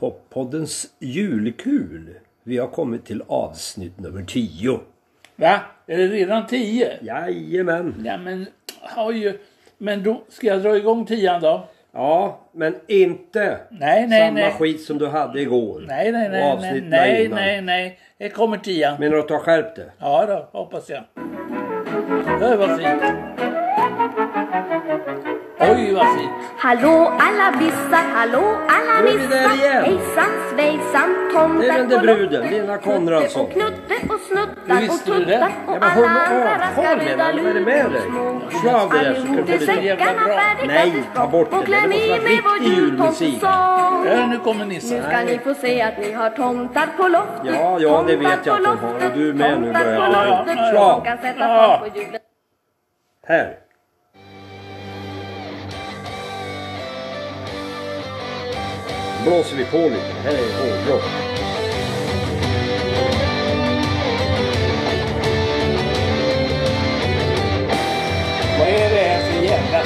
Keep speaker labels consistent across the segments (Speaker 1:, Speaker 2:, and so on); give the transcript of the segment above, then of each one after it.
Speaker 1: Poppoddens julkul. Vi har kommit till avsnitt nummer 10.
Speaker 2: Va? Är det redan tio?
Speaker 1: Jajamän.
Speaker 2: Ja, men har ju... Men då, ska jag dra igång tian då?
Speaker 1: Ja, men inte
Speaker 2: Nej, nej,
Speaker 1: samma
Speaker 2: nej.
Speaker 1: skit som du hade igår.
Speaker 2: Nej, nej,
Speaker 1: Och
Speaker 2: nej, nej,
Speaker 1: avsnitten
Speaker 2: nej,
Speaker 1: innan.
Speaker 2: nej, nej. Det kommer tian.
Speaker 1: Menar du att du har skärpt det?
Speaker 2: Ja då, hoppas jag. Oj, vad fint. Oj, vad fint.
Speaker 3: Hallå alla vissa, hallå alla
Speaker 1: Nu är vi där
Speaker 3: vissa
Speaker 1: igen.
Speaker 3: Hejsan svejsan tomten
Speaker 1: Det är den där
Speaker 3: och
Speaker 1: bruden,
Speaker 3: Lotte,
Speaker 1: Lena
Speaker 3: Tutte
Speaker 1: Konradsson.
Speaker 3: och Knutte och
Speaker 2: Hur
Speaker 3: Snuttan och
Speaker 2: visste du det?
Speaker 3: Tuttan
Speaker 1: Ja,
Speaker 3: och
Speaker 1: men håll
Speaker 3: alla andra
Speaker 1: avtal med
Speaker 3: raska
Speaker 1: den. Vad är det med dig? Slå av det där så kan
Speaker 3: Allihop
Speaker 1: du
Speaker 3: i
Speaker 1: få lite...
Speaker 2: jävla
Speaker 3: säckarna
Speaker 2: bra.
Speaker 1: Nej, ta bort
Speaker 3: färdigklädda
Speaker 1: det
Speaker 3: och
Speaker 1: där. Det
Speaker 3: kläm
Speaker 1: måste
Speaker 3: i
Speaker 1: vara
Speaker 3: med vår
Speaker 1: riktig julmusik.
Speaker 3: jultomtesång
Speaker 2: Ja, nu kommer
Speaker 3: nu
Speaker 2: Nisse.
Speaker 3: ska ni få se att ni har tomtar på loftet
Speaker 1: Ja, ja, det vet jag att de har.
Speaker 3: tomtar på
Speaker 1: Du är med nu,
Speaker 3: loftet,
Speaker 1: börjar
Speaker 3: tomtar
Speaker 2: jag.
Speaker 3: på loftet,
Speaker 2: Ja,
Speaker 1: ja.
Speaker 3: som kan sätta
Speaker 2: Ja.
Speaker 3: fart på hjulen.
Speaker 1: Här. blåser vi på lite. Här är hårdrock.
Speaker 2: Vad är det här för jävla...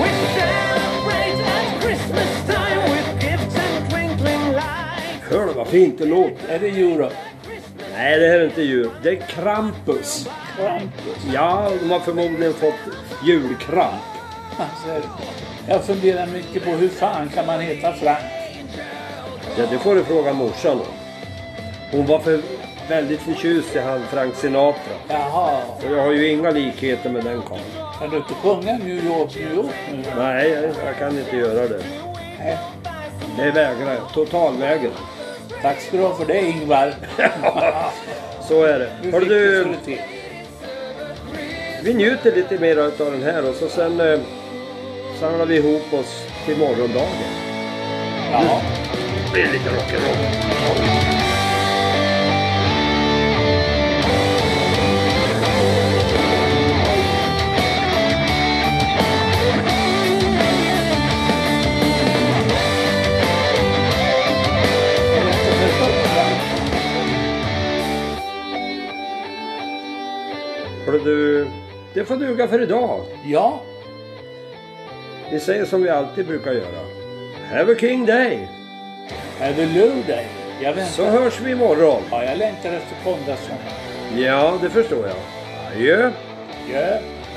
Speaker 4: We celebrate at Christmas time with gifts and twinkling lights.
Speaker 1: Hör du vad fint det låter?
Speaker 2: Är det euro?
Speaker 1: Nej, det här är inte djur. Det är Krampus.
Speaker 2: Krampus?
Speaker 1: Ja, de har förmodligen fått julkramp.
Speaker 2: Alltså, jag funderar mycket på hur fan kan man heta Frank?
Speaker 1: Ja, det får du fråga morsan om. Hon var för väldigt förtjust i han Frank Sinatra.
Speaker 2: Jaha,
Speaker 1: Och jag har ju inga likheter med den karln.
Speaker 2: kan du inte sjunga New York, New York nu?
Speaker 1: Nej, jag- jag kan inte göra det.
Speaker 2: Nej.
Speaker 1: Det vägrar jag. Totalvägrar.
Speaker 2: Tack ska du ha för det Ingvar.
Speaker 1: Så är det.
Speaker 2: Nu
Speaker 1: Hörru
Speaker 2: fick
Speaker 1: du,
Speaker 2: så det till.
Speaker 1: vi njuter lite mer av den här och så sen eh, samlar vi ihop oss till morgondagen.
Speaker 2: Ja. Det är inte för stort, va?
Speaker 1: Hörru du, det får duga för idag.
Speaker 2: Ja,
Speaker 1: Vi säger som vi alltid brukar göra. Have a king day!
Speaker 2: är du lur dig? Jag
Speaker 1: Så
Speaker 2: väntar.
Speaker 1: hörs vi imorgon.
Speaker 2: Ja, jag längtar efter Konradsson.
Speaker 1: Ja, det förstår jag. Adjö!
Speaker 2: Ja.